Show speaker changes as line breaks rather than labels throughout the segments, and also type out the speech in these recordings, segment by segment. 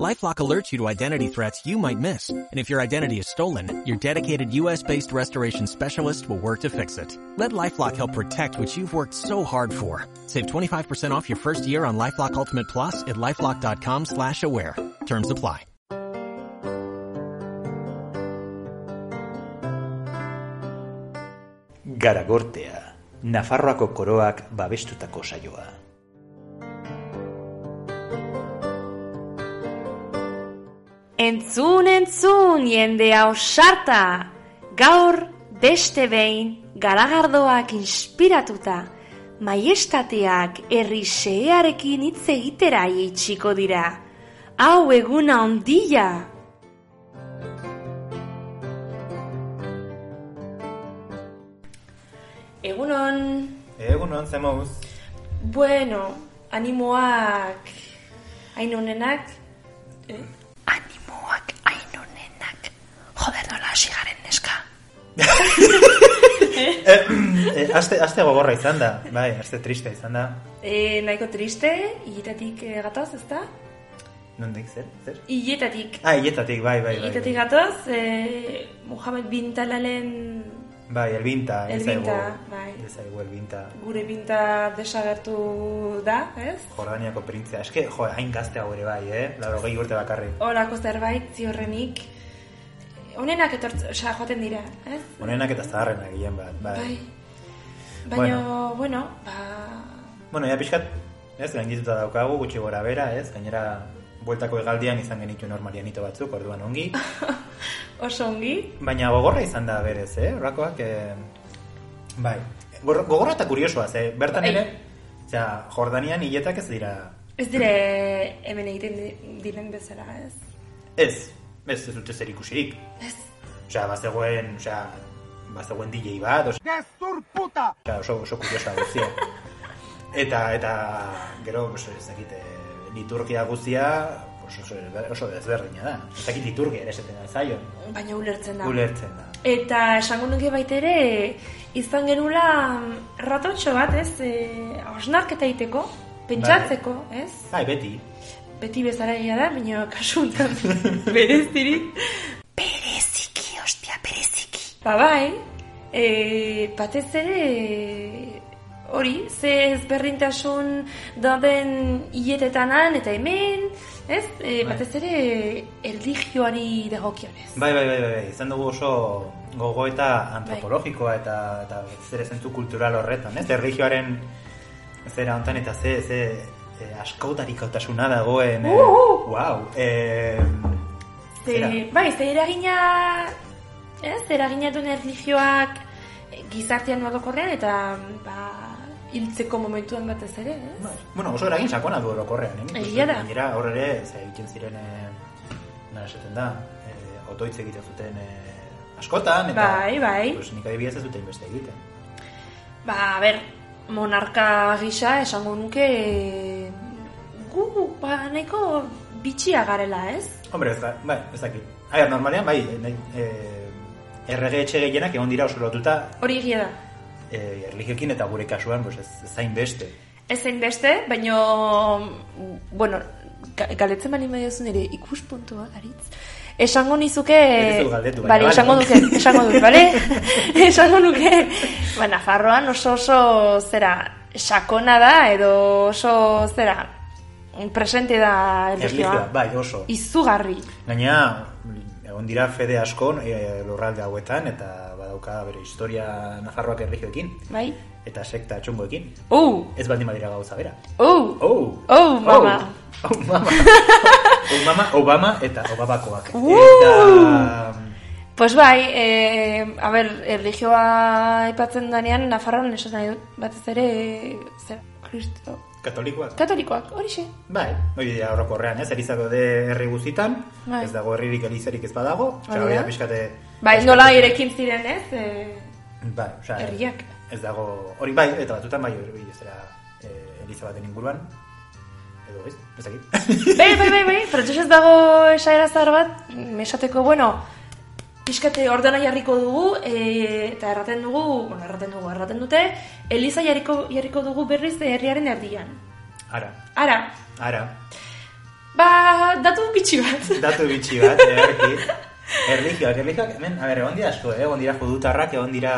LifeLock alerts you to identity threats you might miss, and if your identity is stolen, your dedicated U.S.-based restoration specialist will work to fix it. Let LifeLock help protect what you've worked so hard for. Save 25% off your first year on LifeLock Ultimate Plus at lifeLock.com/slash-aware. Terms apply.
Garagortea, Nafarroako koroak babestutako saioa.
Entzun, entzun, jendea osarta! Gaur, beste behin, garagardoak inspiratuta, maiestateak herri xearekin hitz egitera itxiko dira. Hau eguna ondila! Egunon,
Egun on zemoz.
bueno, animoak, hain honenak,
Animoak hain onenak. Joder, nola hasi garen neska.
E, aste, aste gogorra izan da, bai, aste triste izan da.
e, nahiko triste, hiletatik eh, gatoz, ezta?
Nondik zer, zer?
Iletatik.
Ah, hietatik, bai, bai, bai.
Iletatik gatoz, e, Mohamed Bin Talalen
Bai, elbinta, ez zaigu-
Elbinta, bai.
Ez zaigu elbinta.
gure pinta desagertu da, ez?
Jordaniako printzea. Eske, jo, hain gazteago ere bai, eh? Laro gehi urte bakarrik.
Horako zerbait ziorrenik, honenak etortz, osea, joaten dira, ez?
Honenak eta zaharrenak gehien bat, bai.
¿eh? Bai. Baina,
Bueno.
bueno, ba...
Bueno, ea pixkat, ez, gaindituta daukagu, gutxi gora bera, ez? Gainera, bueltako hegaldian izan genituen normalianito batzuk, orduan ongi.
Oso ongi,
Baina gogorra izan da berez, eh? Horrakoak, eh... bai. Gor- Gogorra eta kuriosoa, ze, bertan
Bai.
ere, zera, Jordanian hiletak ez dira...
ez dire hemen egiten di- diren bezala, ez?
Ez, ez, ez dute zer ikusirik.
Ez,
Osea, bazegoen, osea, bazegoen DJ bat, osea... Gezur puta! Osea, oso, oso kuriosa guztia. eta, eta, gero, pues, ez dakit, eh, liturgia guztia, pues, oso, oso desberdina da. Ez dakit liturgia ere esaten da zaion,
baina ulertzen da.
ulertzen da.
Eta esango nuke baita ere izan genula mm, ratontxo bat, ez? E, osnarketa egiteko, pentsatzeko, ez?
Bai, beti.
Beti bezala egia da, baina kasu honetan bereztirik.
Bereziki, ostia, bereziki.
Ba bai, e, batez ere e, hori, ze ezberdintasun dauden hietetanan eta hemen, ez? E,
Bai.
batez ere erlijioari dagokionez.
Bai, bai, bai, bai, bai, izan dugu oso gogoeta
Bai.
antropologikoa eta, eta zer zentzu kultural horretan, ez? Erregioaren zera hontan eta ze, ze e, askotarikotasuna dagoen, e,
Uhu!
wow, e, zera,
Ze, bai, ze eragina, ez, eragina duen erlijioak eh, gizartean orokorrean eta ba, hiltzeko momentuan batez ere, ez?
bai. bueno, oso eragin sakona du orokorrean, eh? Nik
Egia
uste,
da.
Gainera, hor ere, ze egiten ziren, e, nara esaten da, e, otoitz egiten zuten e, askotan, eta
Bai, bai.
Pues, nik adibidez ez dute beste egiten.
Ba, a ber, monarka gisa esango nuke eh, gu ba, nahiko bitxia garela, ez?
Hombre, ez da, bai, ez dakit. Aia, normalean, bai, nahi, e, errege etxe gehienak egon dira oso lotuta
Hori egia da.
e, erlijiokin eta gure kasuan, pues, ez, zain beste.
Ez zein beste, baino, bueno, ga- galetzen bali maio nire ikuspuntua, aritz. Esango nizuke...
Ez dizut galdetu, baina
Bale,
bale,
esango
ondo.
duke, esango dut, bale? esango nuke, ba, Nafarroan oso oso, zera, sakona da, edo oso, zera, presente da erlijioa.
Erlijioa, bai, oso.
Izugarri.
Gaina, egon dira fede askon e, lurralde hauetan, eta badauka bere historia Nafarroak erlijioekin,
Bai?
eta sekta txungoekin.
Oh,
Ez baldin badira gauza bera.
oh,
Oh!
Oh, mama.
Oh, oh, mama! oh, mama, Obama eta Obabakoak.
Uh!
Eta... mm,
Pues bai, e, a ber, erlijioa aipatzen danean, Nafarroan esaten nahi dut, batez ere, e, zera, kristo.
Katolikoak.
Katolikoak, horixe.
Bai, hori dira horrokorrean, ez? Erizako de herri guztitan,
Bai.
ez dago herririk elizarik ez badago, osea,
Hori
hori da
da.
pixkate...
Bai,
pixkate-
nola irekin ziren ez, e,
Bai, osea,
herriak.
eh, Ez dago... Hori bai, eta batutan bai, hori, hori, zera, eh, eliza baten inguruan, edo ez, ez dakit.
Bai, bai, bai, bai, frantsesez dago esaera zahar bat, mesateko, bueno, pixkate ordena jarriko dugu, e, eta erraten dugu, bueno, erraten dugu, erraten dute, Eliza jarriko, jarriko dugu berriz herriaren erdian.
Ara,
Ara,
ara,
ba, datu bitxi bat.
datu bitxi bat, eh, erki. Erlijioak, erlijioak, hemen, a ber, egon dira asko, eh? egon dira judutarrak, egon dira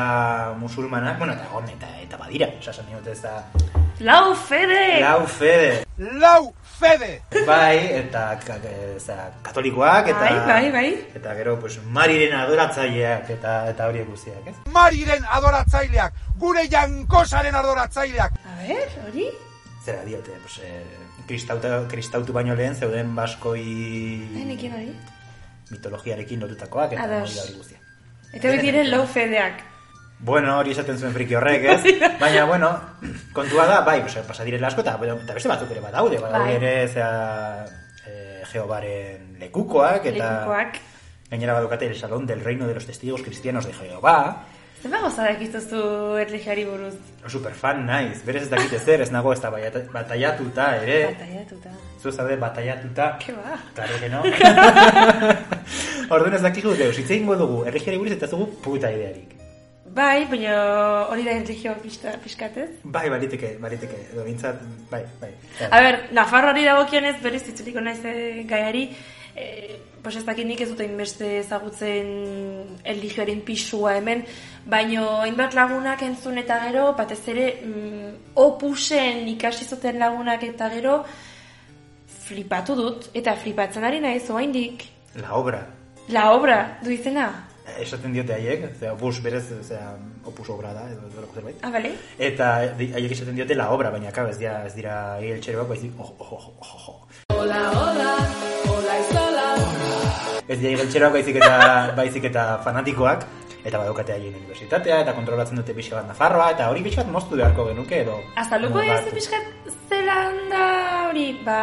musulmanak, bueno, eta egon, eta, eta badira, esan dut ez da,
Lau fede!
lau fede,
Lau fede!
Bai, eta ka- e, zera, katolikoak eta
Bai, bai, bai.
eta gero pues Mariren adoratzaileak eta eta horiek guztiak, ez?
Mariren adoratzaileak! Gure jankosaren adoratzaileak!
A ber, hori?
Zera diote, pues e, kristauta, kristautu baino lehen zeuden baskoi
Denekin Bai, hori?
mitologiarekin lotutakoak eta
Ados.
hori da hori guztia.
Eta hori diren lau fedeak.
Bueno, hori esaten zuen friki horrek, ez? Baina, bueno, kontua da, bai, pues, pasa direla asko, eta, bueno, eta beste batzuk ere badaude, badaude
Bai.
ere, zera, eh, Jehovaren lekukoak, eta...
Lekukoak.
Gainera badukate el salón del reino de los testigos cristianos de Jehová,
Zer bago zadak iztuzu erlijari buruz?
Super fan naiz, berez ez dakite zer, ez nago ez da baiat- bataiatuta ere.
Bataiatuta.
Zu zaude bataiatuta.
Ke ba.
Claro que no. Orduan ez dakigu deus, hitz egingo dugu, erregiari buruz eta ez dugu puta idearik.
Bai, baina hori da erlijio pixka, pixkatez.
Bai, baliteke, baliteke, edo bintzat, bai, bai.
A ber, Nafarroari dagokionez berriz itzuliko naiz eh, gaiari, eh, pues ez dakit nik ez dut inbeste ezagutzen erlijioaren pisua hemen, baino hainbat lagunak entzun eta gero, batez ere mm, opusen ikasi zuten lagunak eta gero, flipatu dut, eta flipatzen ari naiz oraindik.
La obra,
La obra, du izena?
esaten diote haiek, zera, opus berez, zera, opus obra da, edo edo lako zerbait.
Ah, bale?
Eta di- haiek esaten diote la obra, baina kabe, ez dira, ez dira, egil txeroak, baizik, ojo, ojo, ojo, ojo. Ez dira igeltxeroak baizik eta, baizik eta fanatikoak, eta badaukate haien universitatea, eta kontrolatzen dute pixe bat Nafarroa, eta hori pixe bat moztu beharko genuke, edo...
Azaluko
edo
ez
bat-
pixkat zelan da hori, ba,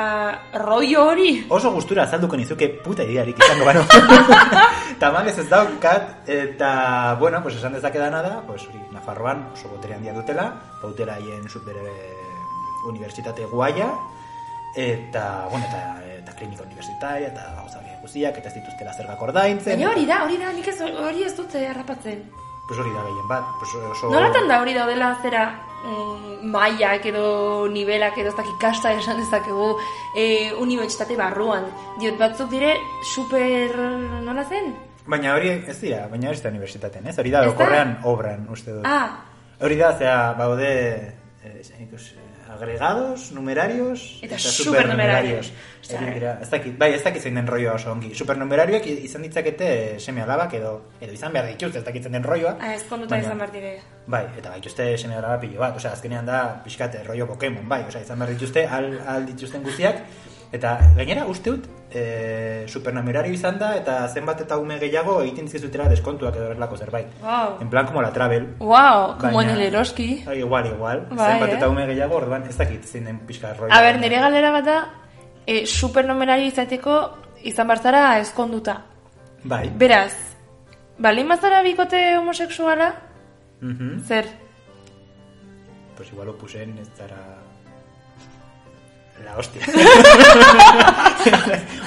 rollo hori.
Oso gustura azalduko nizuke puta idearik izango bano. Tamalez ez daukat, eta, bueno, pues esan dezakedana da, pues hori, Nafarroan oso botere handia dutela, bautela haien super universitate guaia, eta, bueno, eta, eta klinika universitaria, eta gauza horiek guztiak, eta ez dituztela zergak ordaintzen.
Baina hori da, hori da, nik ez, hori ez dut eh, errapatzen.
Pues hori da gehien bat, pues oso...
Nolatan da hori daudela zera mm, mailak edo nivelak edo ez dakik kasta esan dezakegu e, unibertsitate barruan. Diot batzuk dire super nola zen?
Baina hori ez dira, baina ez da universitatean, ez? Hori da,
Ez da?
okorrean obran, uste dut.
Ah,
Hori da, zera, baude eh, zein ikus, eh, agregados, numerarios
Eta supernumerarios. eh.
Horiek dira, Ez dakit, bai, ez dakit zein den roioa oso ongi. Supernumerarioek i- izan ditzakete eh, seme alabak edo, edo izan behar dituzte, ez dakit zein den roioa.
ah ez konduta
Baina-
izan behar dire.
Bai, eta baituzte seme alaba pilo bat, osea, azkenean da pixkate roio Pokemon, bai, osea, izan behar dituzte, al, al dituzten guztiak, eta gainera uste dut, e, supernumerario izan da, eta zenbat eta ume gehiago egiten dizkizutela deskontuak edo horrelako zerbait.
Wow.
En plan, como la travel.
Wow, como en
Baina-
el eroski.
Ah, Igual, igual.
Bai,
zenbat
eh?
eta ume gehiago, orduan ez dakit zein den pixka roio.
A ber, nire galera bat da, e, supernumerario izateko izan barzara ezkonduta.
Bai.
Beraz, balin bazara bikote homosexuala,
Mhm.
zer?
Pues igual opusen ez zara... La hostia.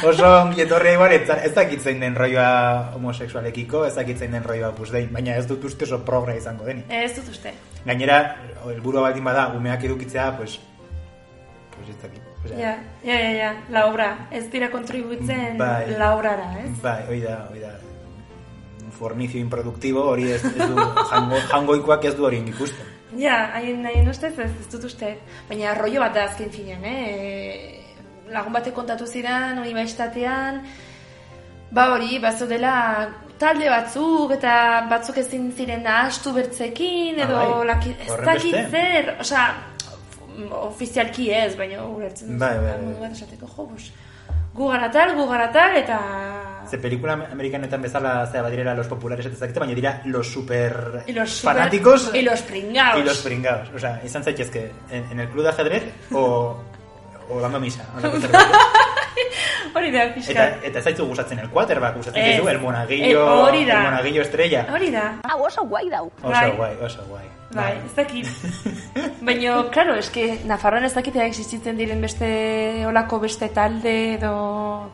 Oso ongi etorria igual, ez zara- ez dakit zein den roioa homosexualekiko, ez dakit zein den roioa pusdein, baina ez dut uste oso progra izango denik.
Ez dut uste.
Gainera, helburua baldin bada, umeak edukitzea, pues... Pues ez dakit. Osea,
Ja, ja, ja, ja, la obra. Ez dira kontribuitzen
Bai.
la obrara, ez?
Bai, hoi da, hoi da. Un fornicio improductivo, hori ez, ez du, jango, jangoikoak ez du hori ikusten.
Ja, haien, haien ustez ez, ez dut uste. Baina rollo bat da azken finean, eh? E, Lagun batek kontatu zidan, unibertsitatean, ba hori, bazeudela talde batzuk eta batzuk ezin ziren ahastu bertzekin, edo
Ah, bai.
laki, ez
Horren
dakit
beste.
zer, osea, f- ofizialki ez, baina ulertzen duzu,
Bai, bai, bai.
modu bat esateko, jo, pues, gu gara tal, gu gara tal, eta...
Ah. Ze pelikula amerikanetan bezala, zera, badirela los populares eta zakite, baina dira los super
Y los super-
fanáticos
y los pringaos.
y los pringaos. O sea, izan zaitezke en, en el club de ajedrez o, o dando misa. o la cosa
Hori da, pixka.
Eta, eta ez zaitzu gustatzen el quarterback, gustatzen
Ez.
zaizu el monagillo,
Eh, hori da.
el monagillo estrella.
Hori da.
Hau oso guai dau.
Oso
Bai.
guai, oso guai.
Bai, ez dakit. Baina, klaro, eske, Nafarroan ez dakitea existitzen diren beste, olako beste talde edo...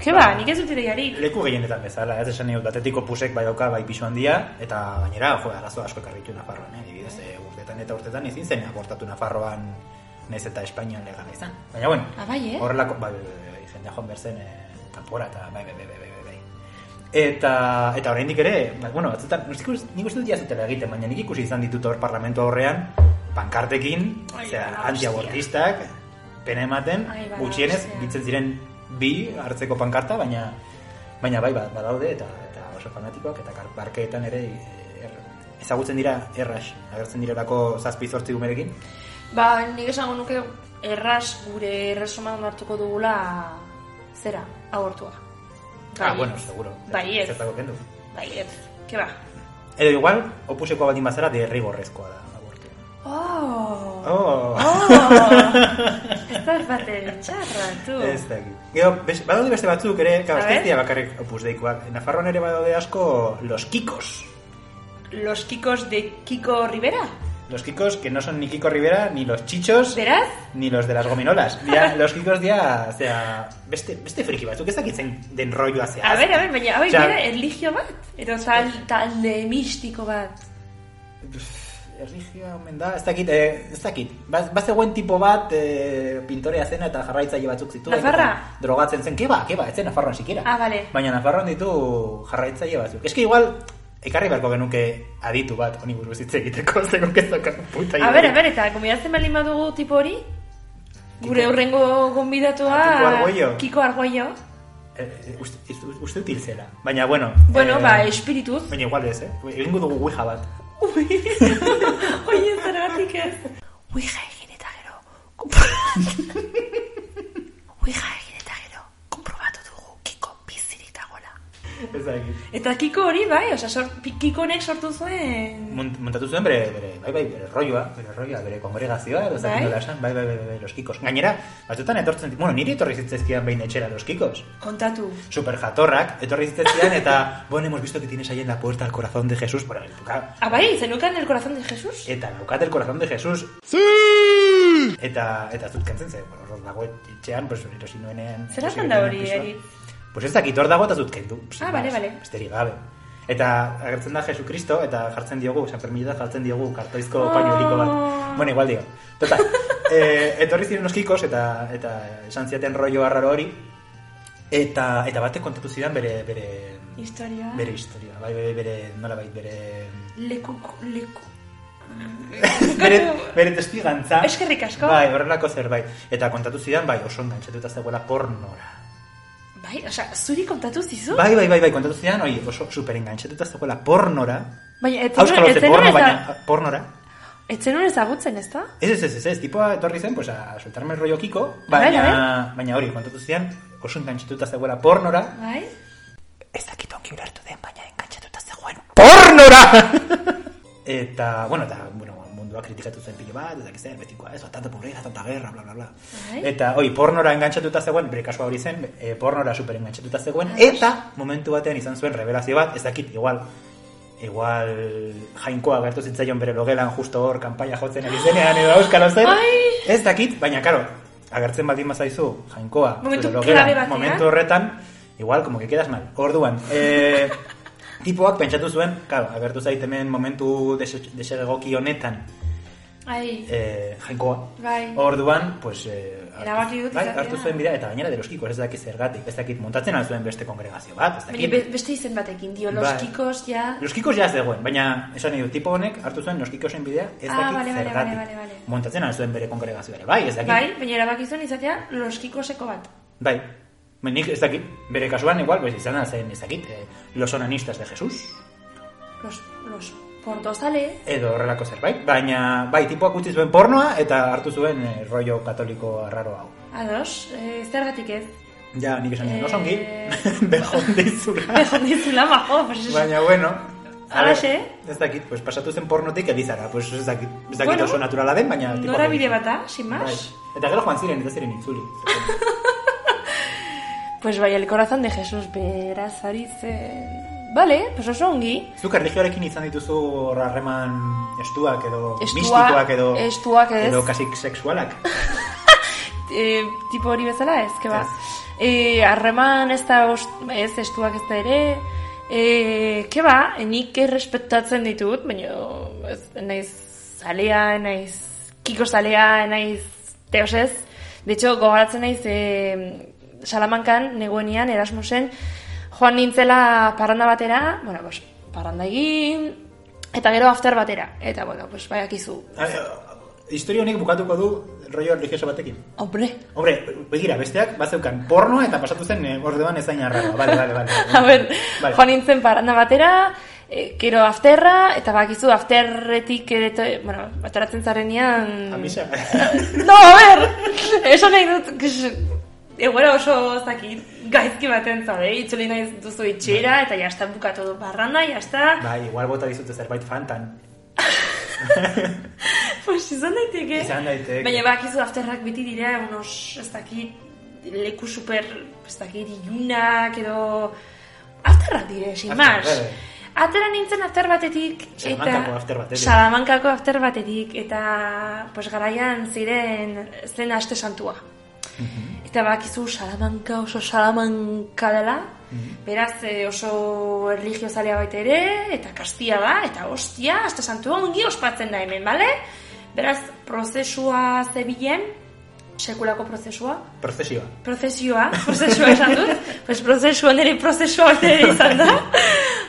Ke
Bai.
ba, nik ez dut ideiarik.
Leku gehienetan bezala, ez esan nio, datetiko pusek bai dauka bai pisu handia, eta gainera, jo, arazo asko ekarritu Nafarroan, eh? Adibidez, eh, urtetan eta urtetan ezin zen abortatu Nafarroan, nez eta Espainian legala izan. Baina, bueno,
Ah, bai, eh?
horrelako, bai, bai, bai, bai, jendea joan berzen eh, kanpora, eta bai, bai, bai, bai, bai, bai. Eta, eta oraindik ere, ba, bueno, batzutan, nik uste nik uste dut jazutela egiten, baina nik ikusi izan ditut hor parlamentu aurrean, pankartekin,
Ai,
zera,
ba,
antiabortistak, pena ematen,
Ai, ba,
gutxienez,
hostia.
bitzen ziren bi hartzeko pankarta, baina baina bai ba- badaude eta eta oso fanatikoak eta kar- parkeetan ere e, er, ezagutzen dira erras, agertzen direlako 7 8 umerekin.
Ba, nik esango nuke erras gure erresuman hartuko dugula zera, agortua.
Ah, bueno, seguro.
Bai, ez.
Zertako kendu.
Bai, ez. Ke ba.
Edo igual, opuseko badin bazara derrigorrezkoa da abortua.
Oh!
Oh.
ez da baten txarra, tu.
Ez dakit. Gero, bes- badaude beste batzuk ere,
A
claro, ez da-
ver.
ez dira bakarrik opus deikoak. Nafarroan ere badaude asko los kikos.
Los Kikos de Kiko Rivera,
Los kikos que no son ni Kiko Rivera, ni los chichos,
beraz?
ni los de las gominolas. Dia, los kikos dia, o sea, beste, beste friki batzuk ez dakitzen den rolloa zehaz.
A ber, a ber, baina hau
Txar-
bera erligio bat, edo tal, talde mistiko bat.
Erlijioa omen da, ez dakit, eh, ez dakit. Baz, bazegoen tipo bat eh, pintorea zena eta jarraitzaile batzuk zituen.
Nafarra?
eta Drogatzen zen, keba, keba, ez zen Nafarroan sikira.
Ah, bale.
Baina Nafarroan ditu jarraitzaile batzuk. Eske igual, ekarri beharko genuke aditu bat, honi buruz hitz egiteko, zegoen kezaka puta.
A ber, a ber, eta gomidatzen bali badugu tipo hori? Gure
Kiko-
hurrengo gonbidatua
Ah, Kiko Argüello.
Kiko Argüello.
Eh, uste, uste- uste util zela. Baina, bueno.
Bueno,
eh,
ba, espirituz.
Baina igual ez, eh? Egingo dugu guija bat.
Ui, oi, zergatik ez.
Ouija egin eta gero. Ouija egin eta gero. Konprobatu dugu Kiko bizirik dagoela.
Ez dakit.
Eta Kiko hori, bai, osea, sort, Kiko honek sortu zuen...
Mun- Muntatu zuen bere, bere, bai, bai, bere rolloa, bere rolloa, bere kongregazioa, edo
Bai.
zaten nola esan, bai, bai, bai, bai, bai, los kikos. Gainera, batzutan etortzen, bueno, niri etorri zitzaizkidan behin etxera los kikos.
Kontatu.
Super jatorrak, etorri zitzaizkidan, eta, bueno, hemos visto que tienes ahí en la puerta el corazón de Jesús, por el tuka.
Ah, bai, zenukan el corazón de Jesús?
Eta daukat el corazón de Jesús. Eta, eta zut kentzen zen, bueno, hor dago etxean, pues, erosi nuenean.
Zer
erosi
esan da
nuenean
hori,
pisua.
Erik?
Pues ez dakit hor dago eta zut kendu. Pss,
Ah, bale,
ez,
bale.
Besterik gabe. Eta agertzen da Jesucristo eta jartzen diogu, San Ferminita jartzen diogu kartoizko
Oh.
pañueliko bat. Bueno, igual dio. Total, eh, etorri ziren los kikos eta, eta esan ziaten rollo arraro hori. Eta, eta batek kontatu zidan bere, bere,
Historia.
bere historia. Bai, bere, bere, nola bai, bere
Leku, leku.
bere, bere testigantza.
Eskerrik asko.
Bai, horrelako zerbait. Eta kontatu zidan, bai, oso engantzatuta zegoela pornora.
Bai, osea, zuri kontatu zizu?
Bai, bai, bai, bai, kontatu zidan, oi, oso super engantzatuta zegoela pornora.
Baina, ez
Auskalo
zenuen- ez
ze
zenuen
porno,
ez da-
baina pornora.
Ez zenuen ezagutzen, ez da?
Ez, ez, ez, ez, ez, tipoa etorri zen, pues, a soltarme el rollo kiko,
A ver,
baina, baina hori, kontatu zidan, oso engantzatuta zegoela pornora.
Bai?
Ez dakit ongi ulertu den, baina enkantxatuta zegoen.
Eta, bueno, eta, bueno, mundua kritikatu zen pilo bat, eta zer, betikoa, ez, tanta pobreza, tanta gerra, bla, bla, bla.
Bai.
Eta, hoi, pornora engantzatuta zegoen, bere kasua hori zen, e, pornora super engantzatuta zegoen,
Bai.
eta momentu batean izan zuen revelazio bat, ez dakit, igual, igual jainkoa gertu zitzaion bere logelan justo hor kanpaia jotzen ari zenean edo euskal zen.
Ai!
Ez dakit, baina karo, agertzen baldin bazaizu jainkoa
Momentu eh?
zure logelan,
klabe batean.
momentu horretan, igual, como que quedas mal. Orduan, eh, tipoak pentsatu zuen, claro, agertu zait hemen momentu dese- desegoki honetan
Ai,
eh, jainkoa.
Bai.
Orduan, pues... Eh,
Erabaki dut
bai,
izatea.
hartu zuen bidea, eta gainera de los kikos, ez dakit zergatik, ez dakit montatzen al zuen beste kongregazio bat, ez
baina
dakit.
be- beste izen batekin, dio, los
Bai.
kikos, ja...
Los Kikos ja ez dagoen, baina esan nahi du tipo honek hartu zuen Los Kikosen bidea ez
Ah,
dakit
bale, bale,
zergatik.
bale, bale, bale.
Montatzen al zuen bere kongregazioa ere, bai, ez dakit.
Bai, baina erabaki zuen izatea los kikoseko bat.
Bai. Ba, Nik ez dakit, bere kasuan igual, pues, izan da zen ez dakit, eh, Los Onanistas de Jesus,
Los, los portozale...
edo horrelako zerbait, baina bai, tipoak utzi zuen pornoa eta hartu zuen eh, rollo katoliko arraro hau.
Ados, eh, zergatik ez.
Ja, nik esan dut,
Eh,
oso ongi, bejon deizura.
Bejon dizula, majo, pues eso.
Baina, bueno, a ber,
Halaxe.
ez dakit, pues, pasatu zen pornotik elizara, pues, ez dakit, ez dakit
Bueno,
oso naturala den, baina... Bai. tipoak
Nora bide
egin zuen.
bat da, sin mas?
Bai. Eta gero joan ziren, eta ziren itzuli.
Pues bai, el corazón de Jesus beraz ari zen... Bale, pues oso ongi.
Zuk erlijioarekin izan dituzu hor harreman estuak edo
Estua-
mistikoak edo
estuak ez.
edo kasik sexualak.
E, tipo hori bezala ez, keba.
Ez.
E, harreman ez da ost, ez estuak ez da ere... E, keba, nik errespetatzen ditut, baina ez, naiz zalea, naiz kiko zalea, naiz teos ez. De hecho, gogoratzen naiz e, Salamankan, negoenian, Erasmusen, joan nintzela parranda batera, bueno, pues, parranda egin, eta gero after batera. Eta, bueno, pues, baiakizu.
Ah, eh, Historia honek bukatuko du rollo religioso batekin.
Hombre,
Hombre, begira, besteak bazeukan pornoa eta pasatu zen eh, orduan ezain arraroa. Vale, vale, vale.
A ber,
Vale.
joan nintzen paranda batera, e, gero afterra, eta bakizu afterretik, eto, bueno, ateratzen zarenean...
A misa.
No, a ber, eso nahi dut, kx, egoera oso zakit, gaizki baten zaude, itzuli naiz duzu itxera, eta jazta bukatu du barranda, jazta,
Bai, igual bota dizute zerbait fantan.
pues izan daiteke.
Izan daiteke.
Baina bakizu afterrak beti dira, unos, ez dakit, leku super, ez dakit, ilunak, edo... Afterrak dire, sin
Afterrak,
más.
bai.
Atera nintzen after batetik,
Salamankako after batetik.
Salamankako after batetik, eta pues, garaian ziren zen aste santua. Eta bakizu Salamanka oso Salamanka dela, beraz eh, oso erligio zalea baita ere, eta kastia da, eta ostia, aste santua ongi ospatzen da hemen, bale? Beraz, prozesua zebilen, sekulako prozesua,
Prozesioa.
prozesioa, prozesua esan dut, pues prozesua nire prozesua ere izan da,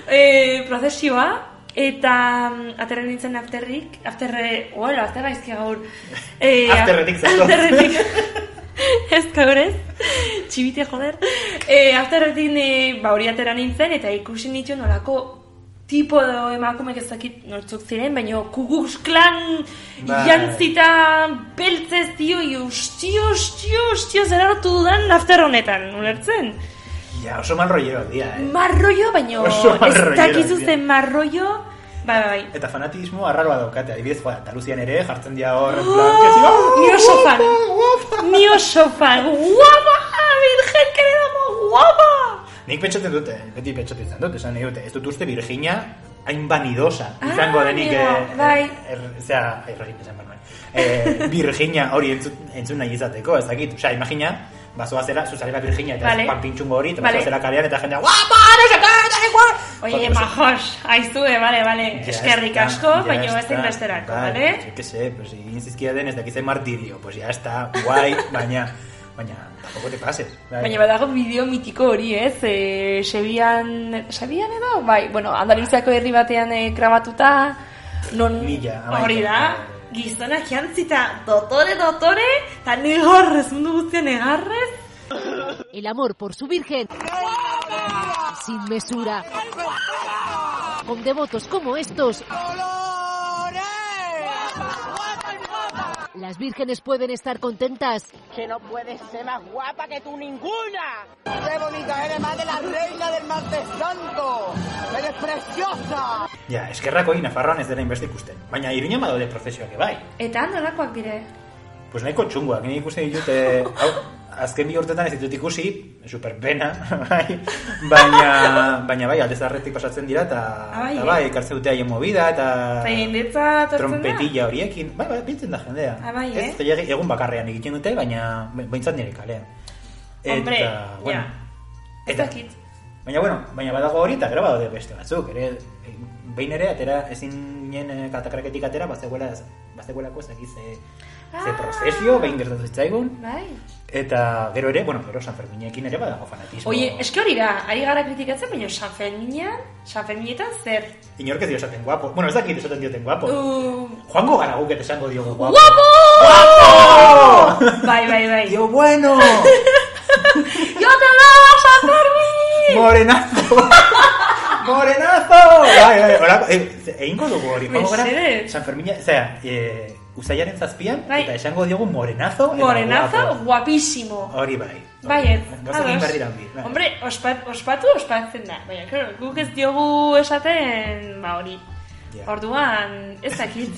e, prozesioa, eta mm, atera nintzen afterrik, afterre, oela, afterra izki gaur, e,
Afterretik zatoz.
afterretik, ez gaur ez, txibite joder, e, afterretik e, ba hori atera nintzen, eta ikusi nituen nolako tipo edo emakumek ez dakit nortzuk ziren, baina kugusklan
Bai.
jantzi eta beltzez dio, ustio, ustio, ustio, zer hartu dudan after honetan, ulertzen?
Ja, oso mal rollo dia, eh?
Marroio, baino,
Oso
ez
marroiero,
dakizu
tia.
zen marroio, bai, bai, bai.
Eta fanatismo arraroa daukate, adibidez, joa, Andaluzian ere jartzen dira hor, en plan, que si, "Oh,
Ni oso
guapa,
fan.
guapa!"
Ni oso fan, guapa, virgen, que le damos, guapa!
Nik pentsatzen dute, beti pentsatzen izan dut, esan nahi dute, ez dut uste Virginia hain vanidosa izango
Ah,
denik,
mira,
eh,
bai.
er, zera, errori esan behar nuen. Eh, Virginia hori entzun, entzun nahi izateko, ez dakit, osea, imagina, bazoa zera, zuzarela Virginia eta
Vale.
vale. pintxungo hori, eta
Vale.
bazoa zera kalean, eta jendea, guapa, no se cae, da igual!
Oie, majos, aizue, bale, bale,
Ya
eskerrik
está,
asko,
ya
baina ez
está,
inbesterako,
bai,
bale?
pues, yo que sé, pues egin zizkia den ez dakitzen martirio, pues ya está, guai, baina, baina, tampoco te pases. bai.
Baina badago bideo mitiko hori, ez? E, Sebian, Sebian edo? Bai, bueno, Andaluziako herri batean e, grabatuta, non
Mila, hamaika.
hori da, gizonak jantzita dotore, dotore, eta negarrez, mundu guztian negarrez,
El amor por su Virgen. Sin mesura. Con devotos como estos. Las vírgenes pueden estar contentas.
que no puedes ser más guapa que tú ninguna. ¡Qué bonita eres, madre la reina del mar de santo! ¡Eres preciosa!
Ja, eskerrak hori Nafarroan ez dela inbeste ikusten. Baina Iruña badaude prozesioak bai.
eta nolakoak dire.
Pues nahiko txungoak, nire ikusten ditut, eh, hau, azken bi urtetan ez ditut ikusi, superpena, bai, baina, baina bai, alde zarretik pasatzen dira, eta
Ah, bai,
eta
eh?
bai, ekartze dute haien movida, eta
Eta jendetza tortzen da.
Ba, trompetilla horiekin, bai, bai, biltzen da jendea.
Ah, bai, eh?
Ez, gehiagi- egun bakarrean egiten dute, baina behintzat nire kalean.
Hombre, ja. Ez
eta-
dakit.
Baina, bueno, baina badago hori eta gero badaude beste batzuk, ere, eh, behin ere, atera, ezin nien eh, katakraketik atera, bazeguela, bazeguelako zaki ze, ze
Ah.
prozesio, behin gertatu zitzaigun,
Bai.
eta gero ere, bueno, gero San Ferminekin ere badago fanatismo.
Oie, eske hori da, ari gara kritikatzen, baina San Ferminan, San Ferminetan zer?
Inork ez dio esaten guapo, bueno, ez dakit esaten dioten guapo.
Uh,
Joango gara guk eta esango diogu guapo.
guapo! Bai, bai, bai.
Dio bueno!
¡Yo te lavo, San Fermín!
Morenazo! Morenazo! Bai, bai, orako, e, ze- egingo dugu hori. joango gara
Mesedez.
San Fermina, zera, e, usaiaren zazpian,
Bai.
eta esango diogu morenazo. eta
Morenazo,
guapo.
guapísimo.
Hori bai.
Bai, ez.
Gauzak egin
ados.
behar dira hori, bai.
Hombre, ospat, ospatu ospatzen da. Baina, claro, guk ez diogu esaten, ba hori.
Ja.
Orduan, ez dakit.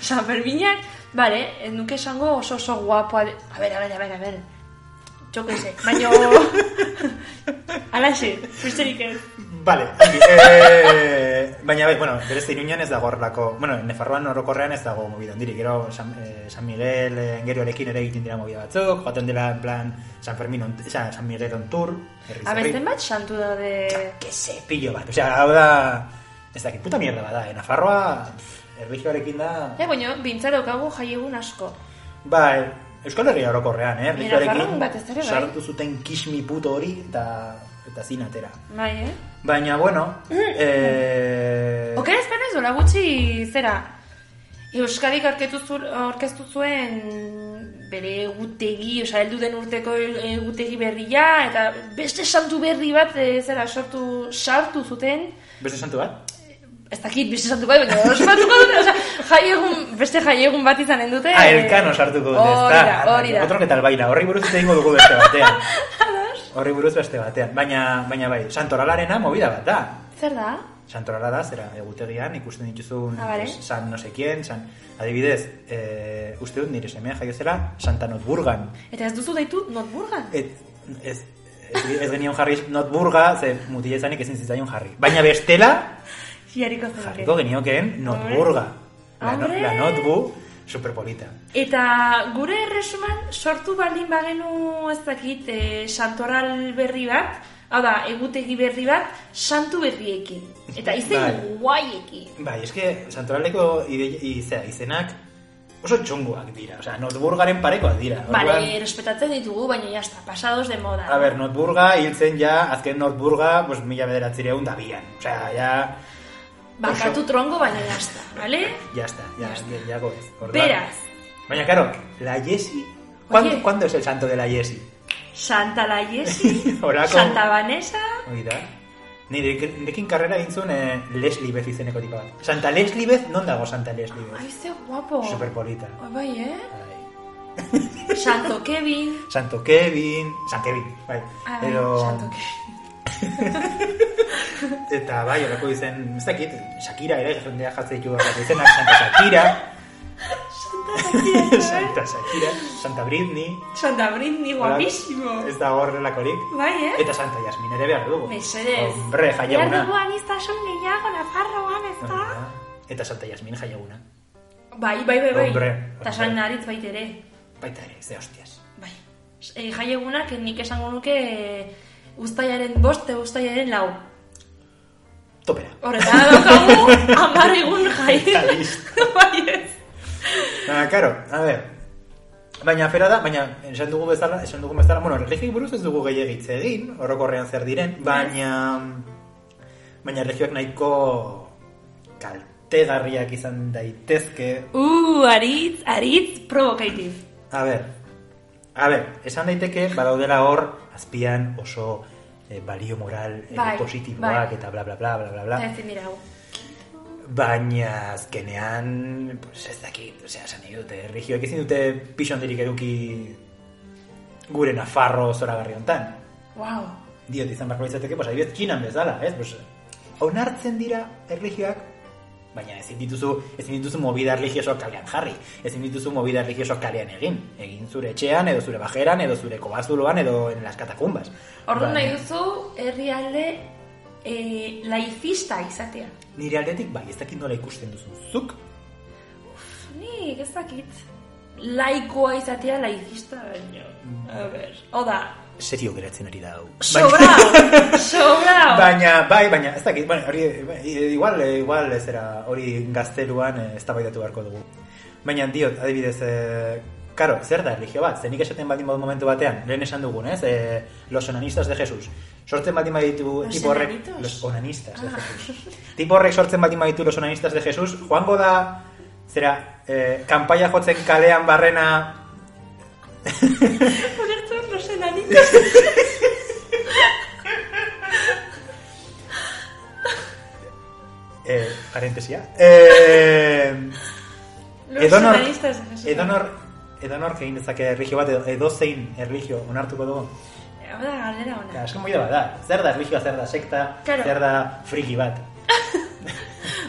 San Ferminak, bale, ez nuke esango oso oso guapoa. de- A ber, a ber, a ber, a ber. txokoise, baino... Alaxe, besterik ez.
Bale, ongi, eh, baina bai, bueno, berezte iruñan ez dago horrelako, bueno, Nefarroan orokorrean ez dago movida handirik, gero San, eh, San Miguel eh, engerioarekin ere egiten dira movida batzuk, joaten dela en plan San Fermin, on, San, San Miguel on tour, herriz
Abesten ba, bat santu da de...
Kese, pillo bat, osea, hau da, ez dakit, puta mierda bada, eh, Nafarroa, pff, erlijioarekin da,
Ja, baino, bintza daukagu jaiegun asko.
bai, Euskal Herria orokorrean, eh,
Mira,
erlijioarekin,
Nafarroan batez ere, bai.
sartu zuten kismi puto hori, eta, eta zin atera.
Bai, eh?
Baina, bueno, eh,
Oker ezpen ez duela gutxi zera. Euskadik aurkeztu, zu- aurkeztu zuen bere egutegi, osea, heldu den urteko egutegi berria, eta beste santu berri bat eh, zera sortu, sartu zuten,
beste santu bat?
ez dakit beste santu bai, baina ospatuko dute, osea, jaiegun, beste jaiegun bat izanen dute.
Ah, elkano sartuko dute,
Eh, Hori da, hori da.
Otronketal baila, horri buruz hitz egingo dugu beste batean. horri buruz beste batean. Baina, baina bai, santoralarena movida bat da.
Zer da?
Santorala da, zera, egutegian, ikusten dituzun
Ah, bale.
san no sekien, san... Adibidez, eh, uste dut nire semea jaio zela Santa Notburgan.
Eta ez duzu deitu Notburgan?
Et, ez, ez, ez genion jarri Notburga, ze mutila izanik ezin zitzaion jarri. Baina bestela,
Jarriko zenuke.
jarriko geniokeen Notburga. La, no-
Hombre.
la Notbu, superpolita.
Eta gure erresuman sortu baldin bagenu ez dakit e, santoral berri bat, hau da, egutegi berri bat, santu berriekin. Eta izen
Bai.
guaiekin.
Bai, eske santoraleko ide, izea, izenak oso txunguak dira, osea, Notburgaren parekoak dira.
Bale,
Orduan,
respetatzen ditugu, baina jazta, pasados de moda.
A ber, Notburga hiltzen ja, azken Notburga, pues, mila bederatzireun da bian. Osea, ja,
Bakatu trongo, baina jazta, bale?
ya está, ya, ya, ya goez. Orduan-
Beraz,
Baina, karo, la Yesi, ¿cuándo,
Oye.
¿cuándo es el santo de la Yesi?
Santa La Yesi,
Horako-
Santa Vanessa,
Hoi da. Nire, nirekin karrera egintzun eh, Leslie Beth izeneko tipa bat. Santa Leslie Beth, non dago Santa Leslie Beth?
ai ze guapo.
Superpolita.
Ai, bai, eh?
Bai.
Santo Kevin,
Santo Kevin, San Kevin, bai.
Ai,
Edo-
Santo Kevin.
Eta bai, horako izen, ez dakit, Shakira ere, jendea jatzen ditu horrelako izenak, Santa Shakira, Santa Shakira, Santa Britney,
Santa Britney, guapísimo.
horrelako- ez da horrelakorik,
Bai, eh?
eta Santa Yasmin ere behar dugu.
Mesedez.
Hombre, jaiaguna.
anistazun gehiago Nafarroan, ez da?
Eta Santa Yasmin jaiaguna.
Bai, bai, bai, bai.
Hombre,
Eta
hombre.
san aritz bait ere.
Baita ere, ze hostias.
Bai. E, jaiegunak nik esango nuke e, ustaiaren boste, ustaiaren lau.
Topera.
Horreta daukagu, amar egun jai.
Eta listo.
bai ez.
Ah, karo, a ber. Baina afera da, baina esan dugu bezala, esan dugu bezala, bueno, erlijioei buruz ez dugu gehiagitz egin, orokorrean zer diren, baina baina erlijioak nahiko kaltegarriak izan daitezke.
Uh, aritz, aritz, provokative.
A ber. A ber, esan daiteke badaudela hor azpian oso eh, balio moral eh,
Bai,
positiboak
bai.
eta bla bla bla bla bla bla.
Eta ezin dira hau.
Baina azkenean, pues ez dakit, osea, esan nahi dute, erlijioek ezin dute pixo handirik eduki gure Nafarro zoragarri hontan.
Wow.
Diot izan barko litzateke, pues adibidez, Txinan bezala, ez? Pues, onartzen dira erlijioak, baina ezin dituzu, ezin dituzu movida erlijiosoak kalean jarri, ezin dituzu movida erlijiosoak kalean egin, egin zure etxean, edo zure bajeran, edo zure kobazuloan, edo en las catacumbas.
Orduan nahi
Baina-
duzu herrialde e, laizista izatea.
Nire aldetik, bai, ez dakit nola ikusten duzu. Zuk,
Nik ez dakit. Laikoa izatea laizista baino.
Mm.
A ber. Oda,
serio geratzen ari da hau.
sobrao, sobrao.
Baina, bai, baina, ez dakit, bueno, hori, eh, igual, eh, igual, ez era, hori gazteluan eh, eztabaidatu beharko dugu. Baina, diot, adibidez, eh, karo, zer da erlijio bat, zenik esaten baldin badu momentu batean, lehen esan dugun, ez, eh, los onanistas de Jesús. Sortzen baldin baditu,
Los
tipo horrek,
enanitos? Ah.
los onanistas de Jesús. Tipo horrek sortzen baldin baditu los onanistas de Jesús, joango da, zera, eh, kanpaia jotzen kalean barrena,
Ulertzen los enanitos.
eh, parentesia, eh,
Los
Edonor,
enanistas de Jesús.
edonor, edonor egin dezake erlijio bat, edo, edozein erlijio onartuko dugu.
Hau da, galdera
Ja,
ona.
Asko moida bat da, zer da erlijioa, zer da sekta,
Claro.
zer da friki bat.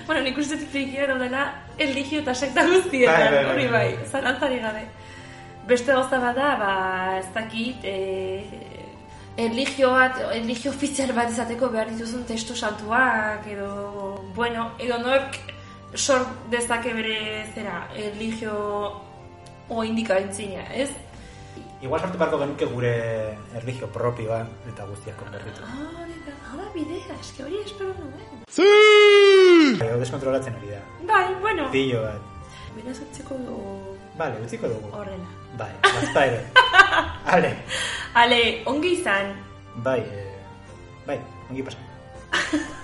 Bueno, nik uste dut frikia daudela eligio eta sekta guztietan,
Bai, bai, bai,
hori
bai,
bai,
bai.
zalantzari gabe. Beste gauza bat da, ba, ez dakit, e, erlijio bat, erlijio ofizial bat izateko behar dituzun testu santuak, edo, bueno, edo nork sor dezake bere zera, erlijio o indikaintzina, ez?
Igual sortu barko genuke gure erlijio propioa eta guztiak konberritu.
Ah, hori da, hau da bidea, eske hori espero nuen.
Gero deskontrolatzen hori da.
Bai, bueno,
Pilo bat.
beraz utziko du
Bale, utziko dugu.
horrela.
Bai, basta ere. Ale.
Ale, ongi izan.
Bai, eh, bai, ongi pasa.